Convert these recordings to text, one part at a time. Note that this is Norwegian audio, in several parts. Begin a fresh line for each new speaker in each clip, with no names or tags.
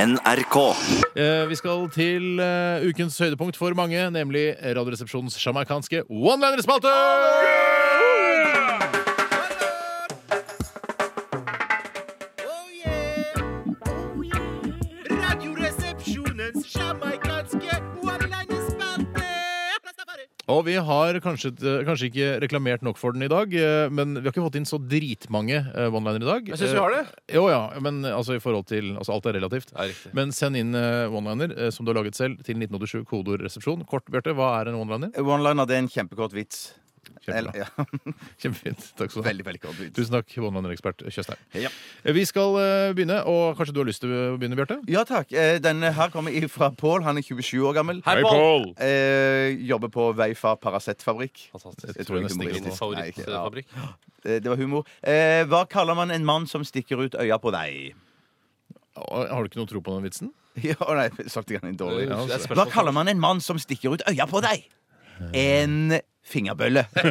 NRK.
Eh, Vi skal til eh, ukens høydepunkt for mange, nemlig Radioresepsjonens sjamarkanske one-liner-spalte!
Oh,
Og vi har kanskje, eh, kanskje ikke reklamert nok for den i dag, eh, men vi har ikke fått inn så dritmange eh, one-liner i dag.
Jeg syns vi har det.
Eh, Jo ja, men altså i forhold til altså, Alt er relativt.
Ja, riktig.
Men send inn eh, one-liner eh, som du har laget selv, til 1987 kodeord resepsjon. Kort, Bjarte, hva er en one-liner?
One-liner, det er en kjempekort vits.
Kjempebra.
Eller- ja,
Kjempefint. Takk skal du ha.
veldig, veldig kort vits.
Tusen takk, one-liner-ekspert Tjøstheim.
Ja.
Eh, Vi skal eh, begynne, og kanskje du har lyst til å begynne, Bjarte?
Ja takk. Eh, Denne her kommer fra Pål. Han er 27 år gammel.
Hei, Pål!
Eh, jobber på Veifa Paracetfabrikk.
Fantastisk.
Jeg tror jeg
nesten
må
ikke
ringe
Min
på. Nei, ikke- ja.
favorittfabrikk.
Eh, Det var humor. Eh, hva kaller man en mann som stikker ut øya på deg?
Å, Har du ikke noe tro på den vitsen?
Ja, å nei, solgte jeg den dårlig?
Det er et
Hva
Eh, spørsmål.
kaller man en mann som stikker ut øya på deg? En fingerbølle.
Ja,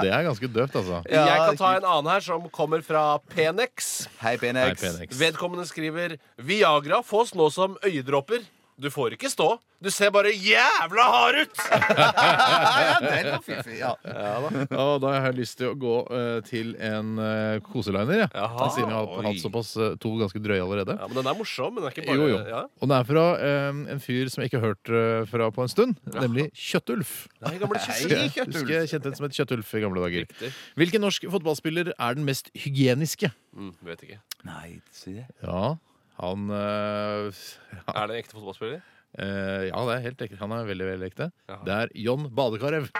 Det er ganske døvt, altså.
Ja,
jeg kan ta en annen her som kommer fra Penex.
Hei,
Nei,
Benex.
Penix.
Vedkommende skriver Viagra fås nå som øyedråper. Du får ikke stå. Du ser bare jævla hard ut!
ja, den var fiffig. Ja.
Ja, da har jeg lyst til å gå eh, til en eh, koseliner, jeg.
Jaha,
Siden vi har hatt-
oi.
hatt såpass eh, to ganske drøye allerede.
Ja, men Den er morsom, men den er ikke bare
Jo, jo.
Ja.
Og den er fra eh, en fyr som jeg ikke har hørt eh, fra på en stund, nemlig Kjøttulf.
Nei, gamle
Hei,
kysser.
Jeg
Kjøttulf.
husker jeg kjente en som het Kjøttulf i gamle dager.
Riktig.
Hvilken norsk fotballspiller er den mest hygieniske?
Mm, vet ikke.
Nei, si det.
Ja, han eh, ja,
Er det en ekte fotballspiller?
eh, ja, det er helt ekte. Han er veldig, veldig ekte.
Jaha.
Det er John Badekarev.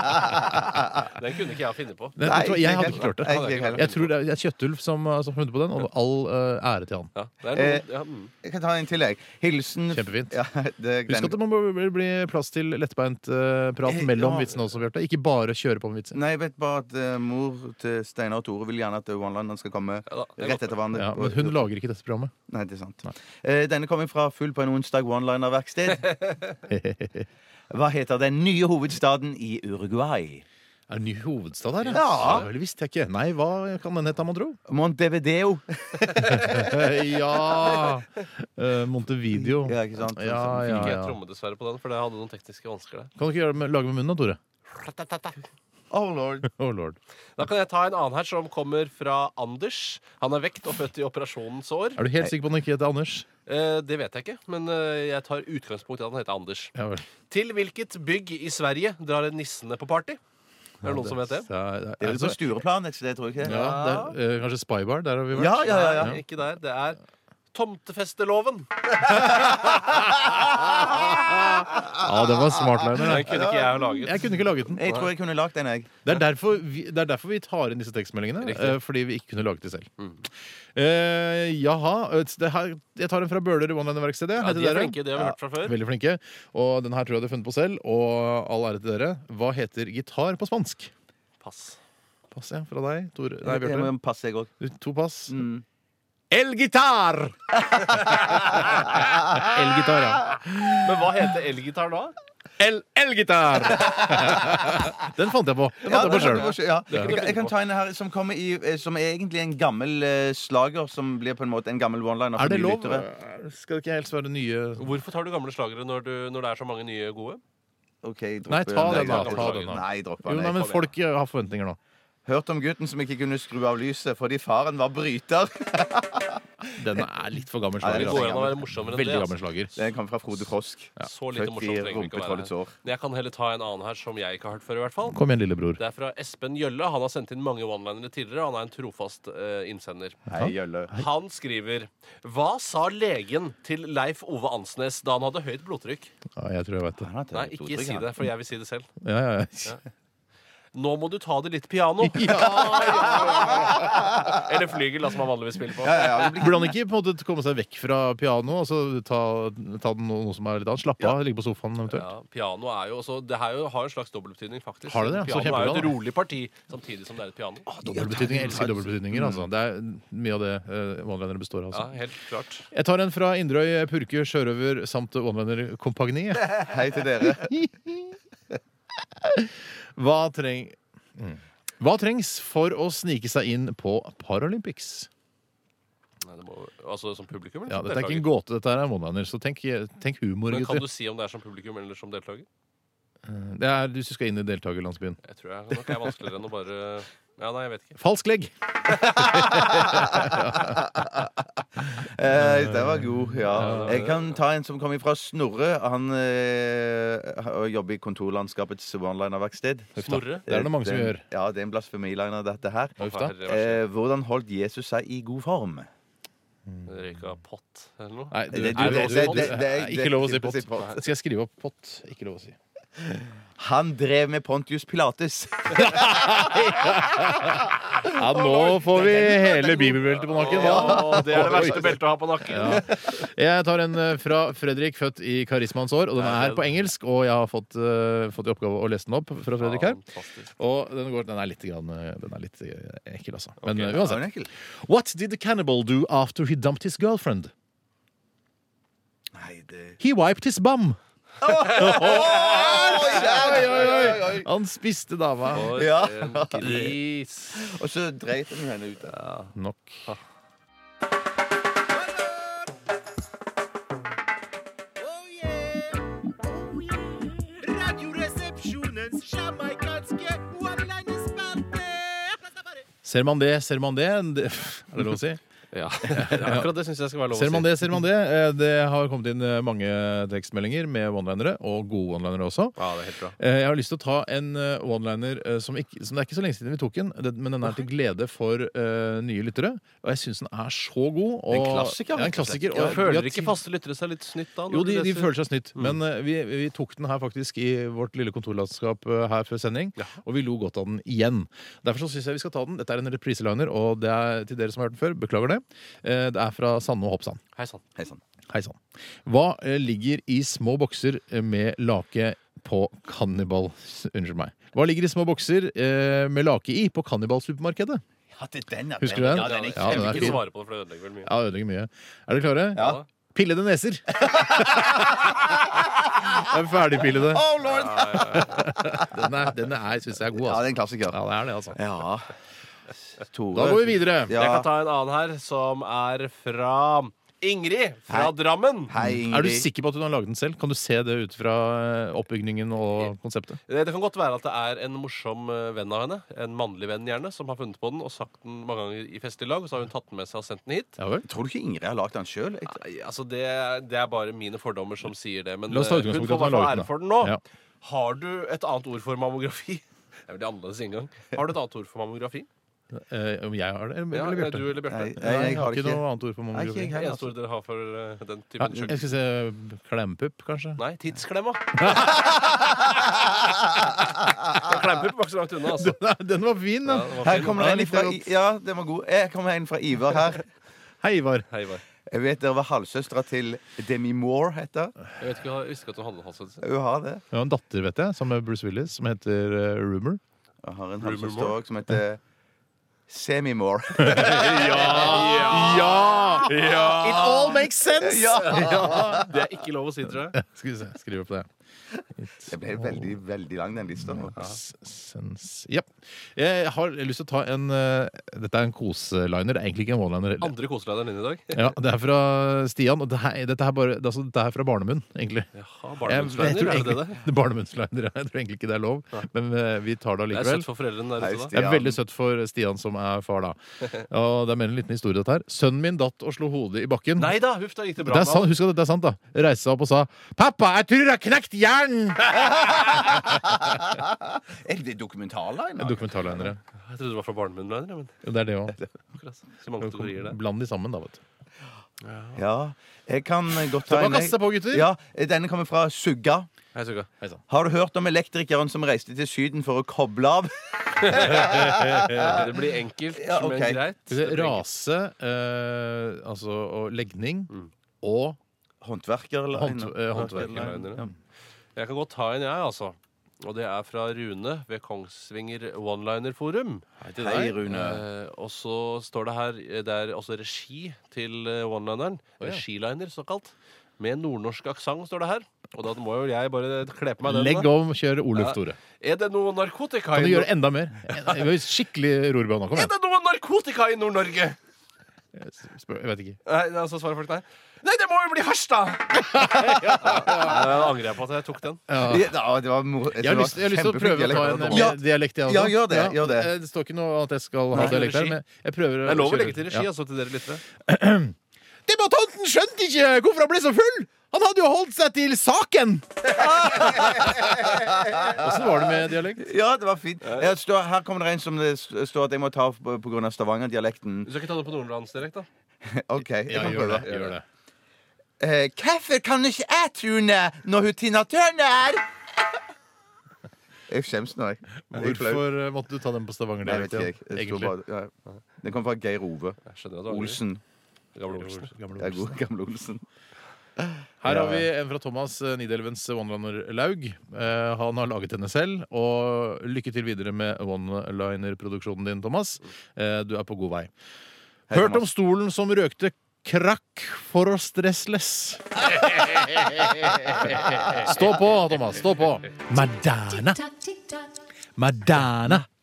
Den kunne ikke jeg finne på.
Nei, vet du hva, jeg hadde ikke klart det.
Jeg, jeg,
Jeg tror det er- det er Kjøttulf som eh, som har funnet på den, og all eh, ære til han.
Ja, det er
Eh,
noe, ja, mm.
jeg kan ta en til, jeg. Hilsen
Kjempefint.
Ja, det,
Husk at det må bli bli plass til lettbeint eh, prat
Eh,
mellom
ja.
vitsene også, Bjarte. Ikke bare kjøre på med vitser.
Nei, jeg vet bare at eh, mor til Steinar og Tore vil gjerne at one-lineren skal komme
Ja da, det er
rett
godt.
etter hverandre.
Ja, men hun lager ikke dette programmet.
Nei, det er sant. Eh, denne kommer fra Full på en onsdag one-liner-verksted. Hva heter den nye hovedstaden i Uruguay?
Er det en ny hovedstad her?
Ja.
Det vel visste jeg ikke. Nei, hva kan den hete, mon tro?
Montevideo.
Eh, ja Eh, Montevideo.
Ja, ikke sant?
Ja, ja,
Ikke
ja.
jeg tromme dessverre på den, for det hadde noen tekniske vansker der.
Kan du ikke gjøre det med, lage med munnen da, Tore?
Oh lord.
Oh lord.
Da kan jeg ta en annen her som kommer fra Anders. Han er vekt og født i operasjonens år.
Er du helt sikker på at den ikke heter Anders?
Eh, det vet jeg ikke, men eh, jeg tar utgangspunkt i at han heter Anders.
Ja vel.
Til hvilket bygg i Sverige drar nissene på party? Er det noen som vet det?
Det er, det er,
Det er vel på Altså Stureplan et sted, tror jeg ikke?
ja, det er, eh, kanskje Spybar? Der har vi vært.
Ja, ja, ja, ja.
Nei, Ikke der. Det er tomtefesteloven.
Ja, den var smartliner.
Den
da.
kunne ikke jeg ha
Jeg
laget.
kunne ikke laget den.
Jeg tror jeg kunne lagd den, jeg.
Det er derfor vi, det er derfor vi tar inn disse tekstmeldingene.
Riktig. Mm.
eh, fordi vi ikke kunne laget de selv. Eh, jaha. eh, Det her, jeg tar en fra Bøhler i One-Line-verkstedet.
Ja,
Hei til
de er
dere.
flinke, det har vi hørt fra før.
Veldig flinke. Og den her tror jeg du har funnet på selv. Og all ære til dere. Hva heter gitar på spansk?
Pass.
Pass, ja. Fra deg, Tor. Nei,
Jeg
Bjarte.
må passe, jeg òg.
To pass.
Mm.
El gitar! El gitar, ja.
Men hva heter elgitar da?
El, elgitar! den fant jeg på. Den fant jeg på sjøl.
Ja. Jeg, kan- jeg kan ta en her som kommer i eh, Som er egentlig en gammel eh, slager, som blir på en måte en gammel one-liner. for
Er det
nye
lov?
lyttere.
Eh, Skal det ikke helst være nye
Hvorfor tar du gamle slagere når, du, når det er så mange nye gode?
Ok, dropp
Nei, ta den, da.
gamle
Ta
slager.
den, da.
Nei, dropp
Jo,
den.
nei,
jeg.
men folk eh, har forventninger nå.
Hørt om gutten som ikke kunne skru av lyset fordi faren var bryter.
Den er litt for gammel
Ja,
slager.
den er gammel.
Det går
altså.
an å være morsommere enn
Veldig
det.
gammel
Altså.
slager.
Den kom fra Frode Frosk.
Så lite
Født i
morsomt trenger det ikke å
rumpetrollets
være.
år.
Jeg kan heller ta en annen her som jeg ikke har hørt før, i hvert fall.
Kom igjen, lillebror.
Det er fra Espen Gjølle. Han har sendt inn mange one-linere tidligere. Han er en trofast eh, innsender.
Hei, Jølle.
Han skriver Hva sa legen til Leif Ove Ansnes da han hadde høyt blodtrykk?
Ja, jeg tror jeg vet det.
Han har hatt
Nei,
et
ikke
blodtrykk,
si
han.
det, for jeg vil si det selv.
Ja, ja, ja.
Nå må du ta det litt piano. Eller flygel, da, som han vanligvis spiller på.
Ja, ja, det blir-
Burde han ikke på en måte komme seg vekk fra piano og så ta, ta den noe, noe som er litt annet? Slappe av, ligge på sofaen eventuelt?
Ja, piano er jo også, Det her jo har en slags dobbeltbetydning, faktisk.
Har det det? Så
Piano er jo
kjempebra,
et
da.
rolig parti, samtidig som det er et piano.
Dobbeltbetydning. Jeg elsker dobbeltbetydninger. Altså. Det er mye av det eh, one-linere består av.
Ja,
Altså.
helt klart.
Jeg tar en fra Inderøy Purke Sjørøver samt One-liner-kompagniet.
Hei til dere.
Hva, treng... Mm. Hva trengs for å snike seg inn på Paralympics?
Nei, det må, altså som publikum? Eller
Ja,
som
Dette er ikke en
deltaker?
gåte, dette her er en one-liner. Så tenk, tenk humor,
Men kan
gutter.
du si om det er som publikum eller som deltaker?
Det er hvis du skal inn i deltakerlandsbyen.
Jeg tror jeg nok er vanskeligere enn å bare Ja, nei, jeg vet ikke.
Falsk legg!
Eh, den var god, ja. Jeg kan ta en som kommer fra Snorre. Han eh, har- jobber i kontorlandskapets one-liner-verksted.
Snorre?
Det er det mange som
Eh, den-
gjør.
Ja, det er en blasfemiliner, dette her.
Uff da.
Herre verste.
Eh, hvordan holdt Jesus seg i god form?
Røyka pott eller noe?
Nei, du,
Det-
er det,
det-
lov å si
det-
pott?
det-
det-
Nei, ikke lov å si
det-
pott.
det- pott.
Skal jeg skrive opp pott? Ikke lov å si.
Han drev med Pontius Pilates.
Ja, nå får vi hele bibelbeltet på nakken.
Å, det er det
Oi.
verste beltet å ha på nakken.
Jeg tar en eh, fra Fredrik, født i karismaens år, og den er på engelsk. Og jeg har fått, eh, fått i oppgave å lese den opp fra Fredrik her.
Fantastisk.
Og den, går, den er litt, grann, eh, den er litt eh, ekkel, altså. Men
Ok.
eh, uansett.
Nei,
What did the cannibal do after he dumped his girlfriend?
det
He wiped his bum.
Oi, oi, oi, oi, oi.
Han spiste dama.
For
Ja.
en gris.
Og så dreit hun henne ut.
Nok.
Oh, Oh, Radioresepsjonens jamaikanske one-liner-spalte.
Ser man det, ser man det det- Er det lov å si?
Ja, akkurat det syns jeg skal være lov å
Ser man
si.
det, ser man det. Eh, Det har kommet inn eh, mange tekstmeldinger med one-linere, og gode one-linere også.
Ja, det er helt bra.
Eh, Jeg har lyst til å ta en eh, one-liner eh, som, ikke- som det er ikke så lenge siden vi tok den, det- men den er til glede for eh, nye lyttere. Og jeg syns den er så god. Og,
En klassiker,
Ja, en
rett og slett.
klassiker og
Ja,
vi har
føler ikke
tid-
faste lyttere seg litt snytt da? når
Jo, de, de
leser? Mm.
føler seg snytt. Men eh, vi, vi tok den her faktisk i vårt lille kontorlandskap eh, her før sending,
Ja.
og vi lo godt av den igjen. Derfor så syns jeg vi skal ta den. Dette er en repriseliner, og det er til dere som har hørt den før. Beklager det. Eh, Det er fra Sanne og Hoppsand.
Hei sann.
Hei sann.
Hei sann. Hva eh, ligger i små bokser eh, med lake på Cannibal Unnskyld meg. Hva ligger i små bokser eh, med lake i på Cannibal-supermarkedet?
Ja, det er den, ja.
Husker du den?
Ja, den
Ja,
er
den er
jeg vil ikke
fin.
svare på det, for det ødelegger vel mye.
Ja, ødelegger mye. Er dere klare?
Ja.
Pillede neser. det er ferdigpillede.
Oh, lord!
Den er, den er, syns jeg er god,
Ja, det er
altså.
en klassiker.
Ja, det er det, altså.
Ja. Tore.
Da går vi videre.
Ja.
Jeg kan ta en annen her, som er fra Ingrid fra
Hei.
Drammen.
Hei, Ingrid.
Er du sikker på at du har laget den selv? Kan du se det ut fra eh, oppbygningen og konseptet?
Eh, Det det kan godt være at det er en morsom eh, venn av henne, en mannlig venn gjerne, som har funnet på den og sagt den mange ganger i festlig lag, og så har hun tatt den med seg og sendt den hit.
Ja vel?
Tror du ikke Ingrid har lagd den sjøl?
Nei, altså det, det er bare mine fordommer som sier det, men
La oss ta
eh,
utgangspunkt i at
hun får
hun
bare
har laget den,
ære
da.
for den nå.
Ja.
Har du et annet ord for mammografi? Det er veldig annerledes inngang. Har du et annet ord for mammografi?
Eh, Om jeg har det,
Ja,
eller
eller
Bjarte?
du eller Bjarte?
Nei, altså-
Nei, jeg har
det
ikke noe annet ord på
Nei, ikke
mammografi.
jeg
Det
heller.
eneste ordet dere har for eh, den
Ja,
typen
jeg
kjøkken?
skal se klempupp, kanskje.
Nei, tidsklemma. Klemper på ikke så langt unna, altså.
Nei, Den var fin,
Ja,
da.
det var
Her
fint.
kommer
Ja,
det en
likte
fra
jeg godt.
Ja, den var god. Jeg kommer en fra Ivar her.
Hei, Ivar.
Hei, Ivar.
Jeg vet dere var halvsøstera til Demi Moore, heter hun.
Jeg vet ikke, jeg visste ikke at du hadde halshets.
Hun har det.
Jeg har en datter, vet jeg, sammen med Bruce Willis, som heter eh, Rumor.
Hun har en
Rumor
halvsøster
Moore?
òg som heter Semi Moore.
Ah, Ja! It all makes sense!
Det er ikke lov å si, tror jeg.
Skal vi se, skriv opp det.
Det ble veldig, veldig lang, den lista. nå.
S- Sense. Ja. Jeg har lyst til å ta en eh, Dette er en koseliner. Det er egentlig ikke en one-liner. heller.
Andre koselederen din i dag.
Ja, det er fra Stian. Og det her, dette, her bare, det er altså, dette her er fra barnemunn, egentlig.
Jaha,
Jeg, jeg tror
barndomsleiner, er det det?
egentlig, barnemunnsliner, jeg tror egentlig ikke det er lov, men eh, vi tar det
Det er
allikevel.
søtt for foreldrene der ute, da.
Hei,
Det er
Stian.
veldig søtt for Stian, som er far, da. Og det er mer en liten historie, dette her. Sønnen min datt og slo hodet i bakken.
Nei da, huff, da gikk det bra
Det er
med
sant,
han.
husk at dette er sant, da. Reiste seg opp og sa 'Pappa, jeg tror jeg har knekt hjernen!'
Er det dokumentarline? da?
Dokumentarlinere.
Jeg trodde det var fra barnemunnliner, men
Det er det òg.
akkurat så mange kategorier der.
Bland de sammen, da, vet du.
Ja. Jeg kan godt ta
Det var
en. jeg.
kassa på, gutter.
Ja, Denne kommer fra Sugga.
Hei, Sugga.
sånn.
Har du hørt om elektrikeren som reiste til Syden for å koble av?
Eh, Det blir enkelt,
Eh, Ja, ok.
men greit.
Skal vi se,
Det blir enkelt.
Rase, eh, altså og legning, og
Håndverker, eller?
hånd, eh, håndverk.
Håndverkerlinere. Jeg kan godt ta en, jeg, altså. Og det er fra Rune ved Kongsvinger One-liner-forum. Hei til
Hei, Rune.
Eh, og så står det her eh, Det er også regi til eh, one-lineren.
Å, ja.
Regiliner, såkalt. Med nordnorsk aksent, står det her. Og da må jo jeg bare kle på meg den.
Legg
da.
om, kjør Oluf Tore.
Er det noe narkotika
Kan du
i
gjøre enda mer? Skikkelig rorbønn. Kom
Er
igjen.
det noe narkotika i Nord-Norge?
Jeg spør- jeg vet ikke.
Nei, altså nei, så svarer folk nei. Nei, det må jo bli hasj, da! ja, da angrer jeg på at jeg tok den.
Ja, det var moro.
Jeg har, lyst, jeg har lyst til å prøve å ta en eh,
Ja.
mer dialekt. jeg også.
Ja, gjør det, gjør det.
Eh, står ikke noe at jeg skal ha
Nei,
dialekt her,
regi.
men jeg prøver
Det er lov å
kjøre-
legge til regi, altså, til dere lyttere.
Ja. Debattanten skjønte ikke hvorfor han ble så full! Han hadde jo holdt seg til saken! Åssen var det med dialekt?
Ja, det var fint. Jeg står, her kommer det en som det s- står at jeg må ta opp på på grunn av Stavanger-dialekten.
Du skal ikke ta det på nordlandsdialekt, da?
OK. jeg
Ja,
kan
gjør det.
prøve.
Gjør det.
Eh, Hvorfor kan ikke jeg Trune når hun Tina Turner? Jeg skjems nå, jeg. Jeg er flau.
Hvorfor eh, måtte du ta den på Stavanger?
Nei, jeg vet ikke. Jeg. Det sto
egentlig?
bare- ja. Den kom fra Geir Ove
Jeg skjønner at du angrer.
Olsen.
Gamle Olsen.
Gamle
Det er
Olsen.
god, gamle Olsen.
Her
Ja,
har vi en fra Thomas eh, Nidelvens One-Liner Laug. Eh, han har laget henne selv. Og lykke til videre med one-liner-produksjonen din, Thomas. Eh, du er på god vei.
Hei,
Hørt om
Thomas.
stolen som røkte krakk for å stressless. Stå på, Thomas. Stå på. Madonna. Madonna.
Madonna.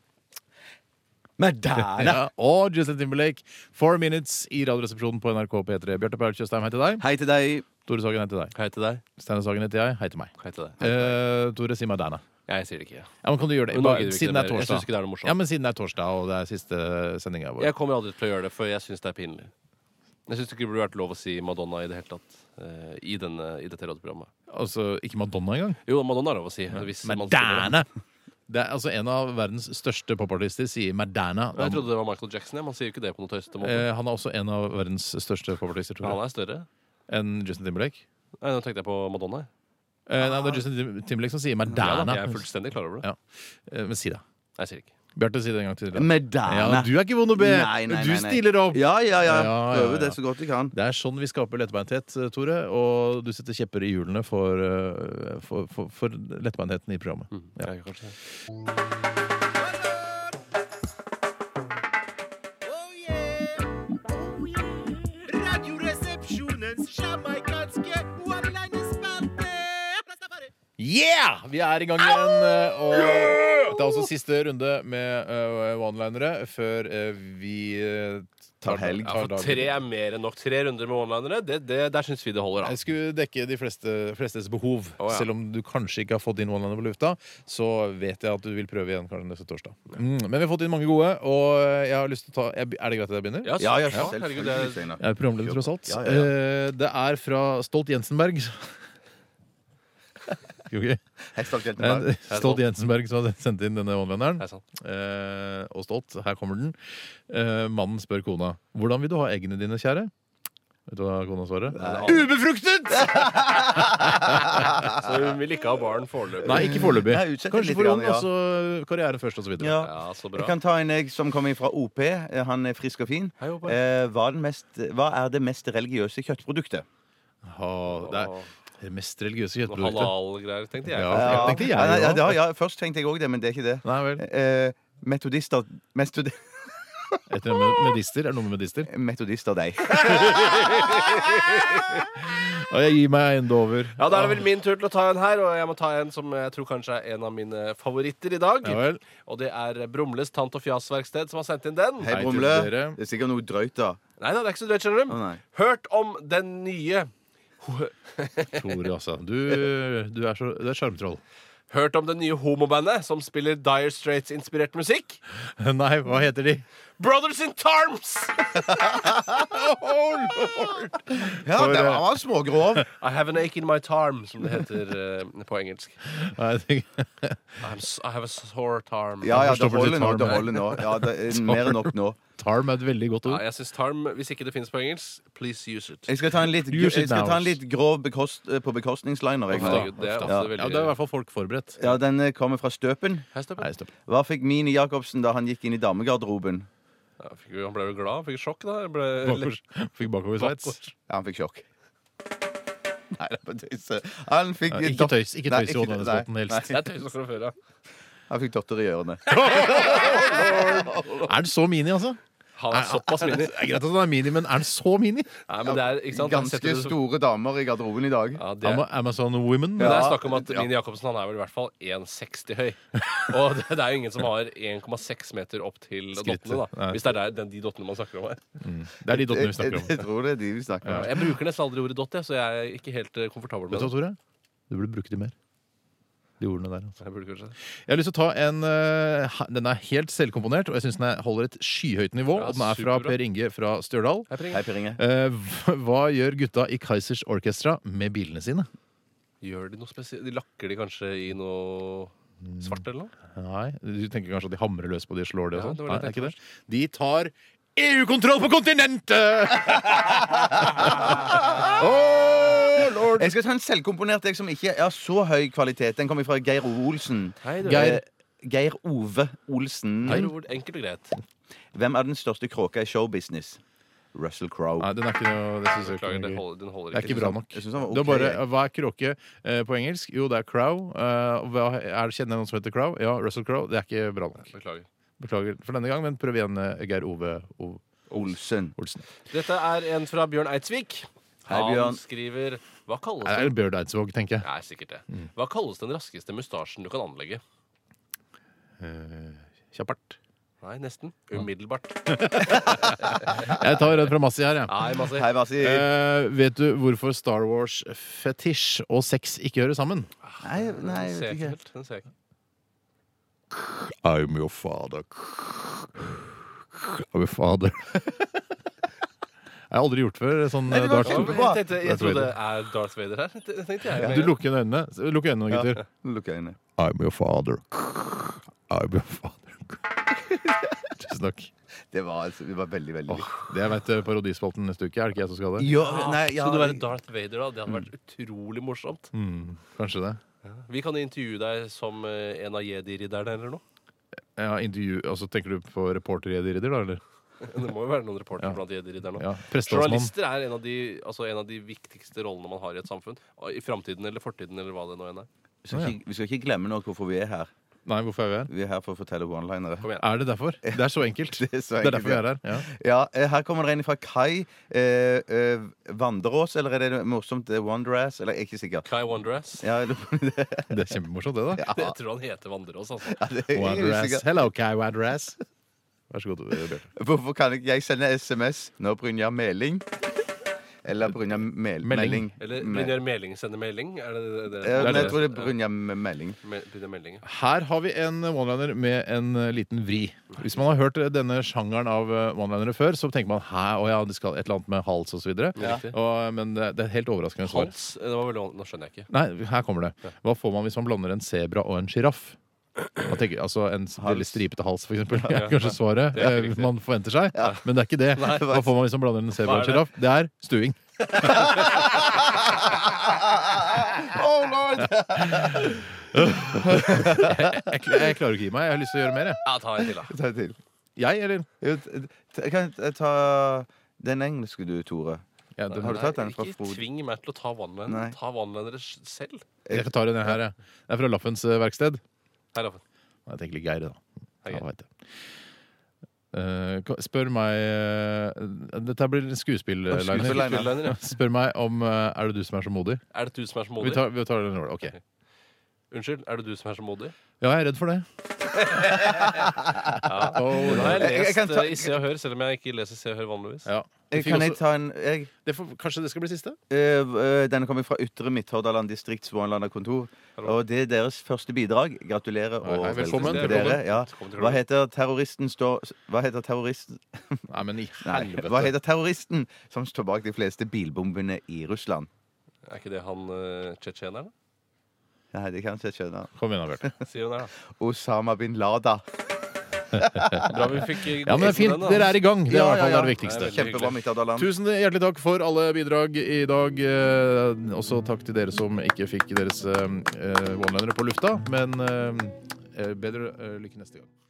Ja, og Justin Timberlake, Four Minutes i Radioresepsjonen på NRK P3. Bjarte Paul Tjøstheim, hei til deg.
Hei til deg.
Tore Sagen, hei til deg.
Hei til deg.
Steinar Sagen heter jeg. Hei til meg.
Hei til deg.
Eh, Tore, si Madonna.
Jeg sier det ikke.
Ja, men kan du gjøre det?
Men nå
Bare,
gidder vi ikke
siden
det
det er
mer. Jeg
torsdag.
synes ikke det er noe morsomt.
Ja, men siden det er torsdag, og det er siste sendinga vår.
Jeg kommer aldri til å gjøre det, for jeg syns det er pinlig. Jeg syns ikke det burde vært lov å si Madonna i det hele tatt. eh, I, denne, I dette radioprogrammet.
Altså, ikke Madonna engang.
Jo, Madonna er lov å si. Hvis man spiller det.
Madonna! Det er altså en av verdens største popartister sier Madonna.
Jeg
Han,
trodde det var Michael Jackson. Ja. Man sier jo ikke det på noe tøysete måte.
eh, han er også en av verdens største popartister,
Men
tror
han
jeg.
er større.
Enn Justin Timberlake.
Nei, nå tenkte jeg på Madonna. jeg.
Eh, nei, det er Justin Tim- Timberlake som sier
Ah. Ja, da,
Madonna.
jeg er fullstendig klar over det.
Ja. Eh, Men si det.
Nei, Jeg sier det ikke.
Bjarte, si det en gang til. Ja,
Madonna.
du er ikke vond å be!
Nei, nei,
Du
nei, nei.
stiller opp!
Ja, ja, ja.
Ja, ja, ja.
Prøver det så godt du kan.
Det er sånn vi skaper lettbeinthet, eh, Tore. Og du setter kjepper i hjulene for, eh, for, for, for lettbeintheten i programmet.
Mm.
Ja.
Jeg, kanskje.
Oh yeah. Oh, Radioresepsjonens jamaikanske one-linerspalte.
Yeah! Vi er i gang igjen. eh, Og det er også siste runde med eh, one-linere før eh, vi eh,
Tar helg.
Ja, for
dagen.
tre er mer enn nok. Tre runder med one-linere, det, det, der syns vi det holder.
Jeg
Da.
skulle dekke de fleste, flestes behov.
Å, ja.
Selv om du kanskje ikke har fått din one-liner på lufta, så vet jeg at du vil prøve igjen kanskje neste torsdag. Mm, men vi har fått inn mange gode, og jeg har lyst til å ta jeg, Er det greit at jeg begynner?
Altså, Ja,
Ja, ja,
ja,
selvfølgelig,
herregud, det er-
Steinar.
Jeg er programleder, tross alt.
Ja, ja,
Eh, Det er fra Stolt Jensenberg. Jo, ok.
Hei, stolt helt
Det er
tilbake.
Stolt Jensenberg som har sendt inn denne one-lineren.
Det er sant.
Eh, og stolt. Her kommer den. Eh, mannen spør kona hvordan vil du ha eggene dine, kjære. Vet du hva kona svarer? Ubefruktet!
Så hun vil ikke ha barn foreløpig.
Nei, ikke foreløpig.
Nei, utsett det
Kanskje
litt
for
grann,
henne,
ja.
og så karriere først, og så videre.
Ja.
Ja, så
Jeg
bra.
kan ta en jeg som kommer fra OP. Eh, Han er frisk og fin.
Hei, Håper.
Eh, hva, er den mest, hva er det mest religiøse kjøttproduktet?
Ha, det er det mest religiøse
Noe
kjøttproduktet.
Halal-greier, tenkte jeg.
Ja. tenkte jeg
ja, ja,
også.
ja, ja, Først tenkte jeg òg det, men det er ikke det.
Nei vel.
Eh, metodister mestodi-
Etter med, medister. Er det noe med medister?
Metodisterdeig.
Og jeg gir meg enda over.
Ja, Da er det vel min tur til å ta en her, og jeg må ta en som jeg tror kanskje er en av mine favoritter i dag.
Ja vel.
Og det er Brumles tant- og fjasverksted som har sendt inn den.
Hei,
Hei til
Brumle.
dere.
Det er sikkert noe drøyt, da.
Nei da, det er ikke så drøyt, skjønner du.
Å, nei.
Hørt om den nye
Tore, altså. Du, du er så Du er sjarmtroll.
Hørt om det nye homobandet som spiller Dire Straits-inspirert musikk?
Nei, hva heter de?
Brothers in Tarms!
Ja,
For,
det
eh,
var, var smågrov.
I have an ache in my tarm, som det heter eh, på engelsk.
Nei, jeg tenker-
I'm s I have a sore tarm.
Ja, ja, det
forstår
holder
litt
nå.
harm,
Det
nei.
holder nå. Ja, det er mer enn nok nå.
Tarm er et veldig godt
Ja,
ord.
jeg syns tarm Hvis ikke det finnes på engelsk, please use it.
Jeg skal ta en litt,
You
jeg
should
skal ta
know.
en litt grov bekost, eh, på bekostningsliner. Jeg, nå.
Herregud, det er
Ja.
ofte
Ja,
veldig
Det er i hvert fall folk forberedt.
ja, den eh, kommer fra Støpen.
Hei, Steffen.
Nei, stopp.
Hva fikk Mini Jacobsen da han gikk inn i damegarderoben?
Ja, fikk, jo- han ble jo glad. Fikk sjokk, da. Jeg Ble,
Bakover, fikk bakoversveis.
Bakover.
Ja, han fikk sjokk. Nei, det er bare tøyse. Han fikk
Ja, ikke
dot-
tøys. Ikke
Nei,
tøys i Åndalsbotn helst.
Det er tøysen fra før, ja.
Han fikk dotter i ørene.
Er det så mini, altså?
Han er såpass
Er
mini.
det er greit at han er mini, men er han så mini?
Nei, men det er, ikke sant? Han setter
Ganske
det så-
store damer i garderoben i dag.
Ja, det er,
Am- Amazon Women?
Men det
Ja,
er snakk om at
ja.
Mini Jacobsen han er vel i hvert fall 1,60 høy. Og det, det er jo ingen som har 1,6 meter opp til
Skrittet.
dottene. da
Nei.
Hvis det er der, den, de dottene man snakker om her.
Det er de dottene vi
Jeg,
snakker om.
jeg tror det er de vi snakker om.
Jeg bruker nesten aldri ordet dott, jeg, så jeg er ikke helt eh, komfortabel
Vet
med
du hva, Tore?
det.
Du burde bruke de mer. De ordene der. Altså.
Jeg burde kanskje det.
Jeg har lyst til å ta en eh, ha- Den er helt selvkomponert, og jeg syns den er, holder et skyhøyt nivå.
Ja,
og den er fra
superbra.
Per Inge fra Stjørdal.
Hei, Per Inge.
Hei, Per Inge.
Eh, hva- hva gjør gutta i Kaizers Orchestra med bilene sine?
Gjør de noe spesielt? De lakker de kanskje i noe svart eller noe?
Nei, Du tenker kanskje at de hamrer løs på de og slår de og
Ja,
sånn?
det var
Nei,
det
er
jeg
ikke det? De tar EU-kontroll på kontinentet! oh, lord!
Jeg skal ta en selvkomponert jeg som ikke er så høy kvalitet. Den kommer fra Geir Ove Olsen.
Hei, du.
Geir, Geir Ove Olsen.
Hei, Robert. Enkelt og greit.
Hvem er den største kråka i showbusiness? Russell Crowe.
Nei, den er ikke noe det synes jeg ikke
Beklager,
er
den
gøy.
holder, den holder
Det er ikke bra nok.
Jeg synes han var
Det
ok.
var bare, Hva er kråke eh, på engelsk? Jo, det er crow. Eh, og hva er, kjenner jeg noen som heter crow? Ja, Russell Crow. Det er ikke bra nok.
Beklager.
Beklager for denne gang, men prøv igjen, eh, Geir Ove O-
Olsen.
Olsen.
Dette er en fra Bjørn Eidsvik.
Hei, Bjørn.
Han skriver Hva kalles
Det er
den?
en Bjørn Eidsvåg, tenker jeg.
Nei, sikkert det. Hva kalles den raskeste mustasjen du kan anlegge?
Eh, Kjappert.
Nei, nesten. Umiddelbart.
Jeg tar en fra Massi her, jeg.
Nei, Masi.
Hei, Masi.
Eh, vet du hvorfor Star Wars fetisj og sex ikke hører sammen?
Nei, nei,
Den
jeg vet
ser jeg ikke
ikke.
helt. Den ser jeg ikke.
I'm your father. I'm your father. jeg har aldri gjort før sånn
Nei, det var
Darth Vader.
Kjempebra.
Jeg, tenkte, jeg
Darth
trodde
Vader.
er Darth Vader her. Det tenkte jeg.
Du lukker igjen øynene. Lukk øynene, nå, gutter.
Nå lukker jeg øynene.
I'm your father. I'm your father. Tusen takk.
Det var, altså- det var veldig, veldig
Åh, det er vet du, parodispalten neste uke. Er det ikke jeg som skal det?
Ja,
Ja,
nei, ja,
Skulle Ah, du være Darth Vader, da? Det hadde vært utrolig morsomt.
Mm, kanskje det.
Vi kan intervjue deg som eh, en av jedi-ridderne eller noe.
Ja, intervju, altså, tenker du på reporterjederider, da? eller?
Det må jo være noen reportere
Ja.
blant jedi-ridderne.
Ja, Prestemann.
Journalister er en av, de, altså en av de viktigste rollene man har i et samfunn. Og I framtiden eller fortiden eller hva det nå enn er.
Vi skal, ikke, vi skal ikke glemme nok hvorfor vi er her.
Nei, hvorfor er vi her?
Vi er her for å fortelle one-linere.
Kom igjen.
Er det derfor? Det er så enkelt. Det
er så
er derfor vi
enkelt,
er her. Ja.
Ja, eh, her kommer det en fra Kai eh, eh, Vandreås, eller er det noe morsomt eh, Wanderass? Eller jeg er ikke sikker.
Kai Wonderass.
Ja, jeg lurer på det.
Det er kjempemorsomt, det, da.
Jeg tror han heter Vandreås, altså.
det jeg er
Wadrass.
usikker.
Hello, Kai Wadrass. Vær så god, Bjørn.
Hvorfor kan ikke jeg sende SMS når Brynjar Meling Eller Brynjar Mel
Melding.
Melding.
Eller
Me-
Brynjar Meling sender melding. Er det det? det,
Ja,
det,
men
det.
jeg tror det er Brynjar Me- Meling.
Me- Brynjar Meling. ja.
Her har vi en one-liner med en eh, liten vri. Hvis man har hørt eh, denne sjangeren av eh, one-linere før, så tenker man hæ, å ja, det skal et eller annet med hals osv.
Riktig.
eh, Men det det er helt overraskende svar.
Hans eh, Det var veldig van- Nå skjønner jeg ikke.
Nei, her kommer det. Hva får man hvis man blander en sebra og en sjiraff? Man tenker, Altså en s- veldig stripete hals, for eksempel. er kanskje svaret
Det er
eh,
riktig.
man forventer seg. Men det er ikke det. Hva får man hvis man blander en sebra og en
Hva er
sjiraff? Det er stuing.
Oh
Ah!
lord!
Jeg, kl- jeg klarer ikke å gi meg. Jeg har lyst til å gjøre mer, jeg.
Ja, ta en til, da.
Ta til.
Jeg, eller?
Jo, t- t- Jeg kan t- ta den engelske du, Tore.
Ja, den,
Har du tatt den fra
Ikke
Frode?
tving meg til å ta
Nei.
one-linere. Ta one-linere sj- selv.
jeg tar den her, jeg. Det er fra Laffens eh, verksted.
Her, Raffen.
Nei, Jeg tenker litt Geir, da.
Hei,
Ja,
Geir.
vet jeg. Eh, ka- spør meg eh, Dette her blir en skuespill-liner.
Skuespillerne.
Skuespillerne, ja.
Spør meg om eh, Er det du som er så modig?
Er det du som er så
Vi
modig?
tar, vi tar den nå. Ok.
Unnskyld, er det du som er så modig?
Ja, jeg er redd for det.
Nå
Og-
har jeg
Jeg- jeg
lest
kan ta-
eh, i Se og Hør, selv om jeg ikke leser Se og Hør vanligvis.
ja.
Eh,
Det fikk
Kan jeg
også-
ta en jeg,
det får, kanskje det skal bli siste?
eh, eh, Denne kommer fra Ytre Midthordaland distrikts Vånlander kontor. Og det er deres første bidrag. Gratulerer
Hei, hei,
og
velkommen,
til
velkommen.
dere. Ja.
Velkommen til
Hva
klubben.
heter terroristen står Hva heter terroristen
Nei, men i
Nei,
helvete.
hva heter terroristen som står bak de fleste bilbombene i Russland?
Er ikke det han eh, tsjetsjeneren? da?
Nei, det kan jeg ikke skjønne.
Kom igjen, da, Bjarte.
Si hun er, da.
Osama bin Lada.
Bra vi fikk eh,
Ja, men det er
gått inn
fint.
med den,
Dere
da.
er i gang. Det er i
Ja,
hvert fall
ja,
det
ja.
viktigste.
Nei, veldig
Kjempebra, Midtjordaland.
Tusen hjertelig takk for alle bidrag i dag. Eh, også takk til dere som ikke fikk deres eh, eh, one-linere på lufta. Men eh, eh, bedre eh, lykke neste gang.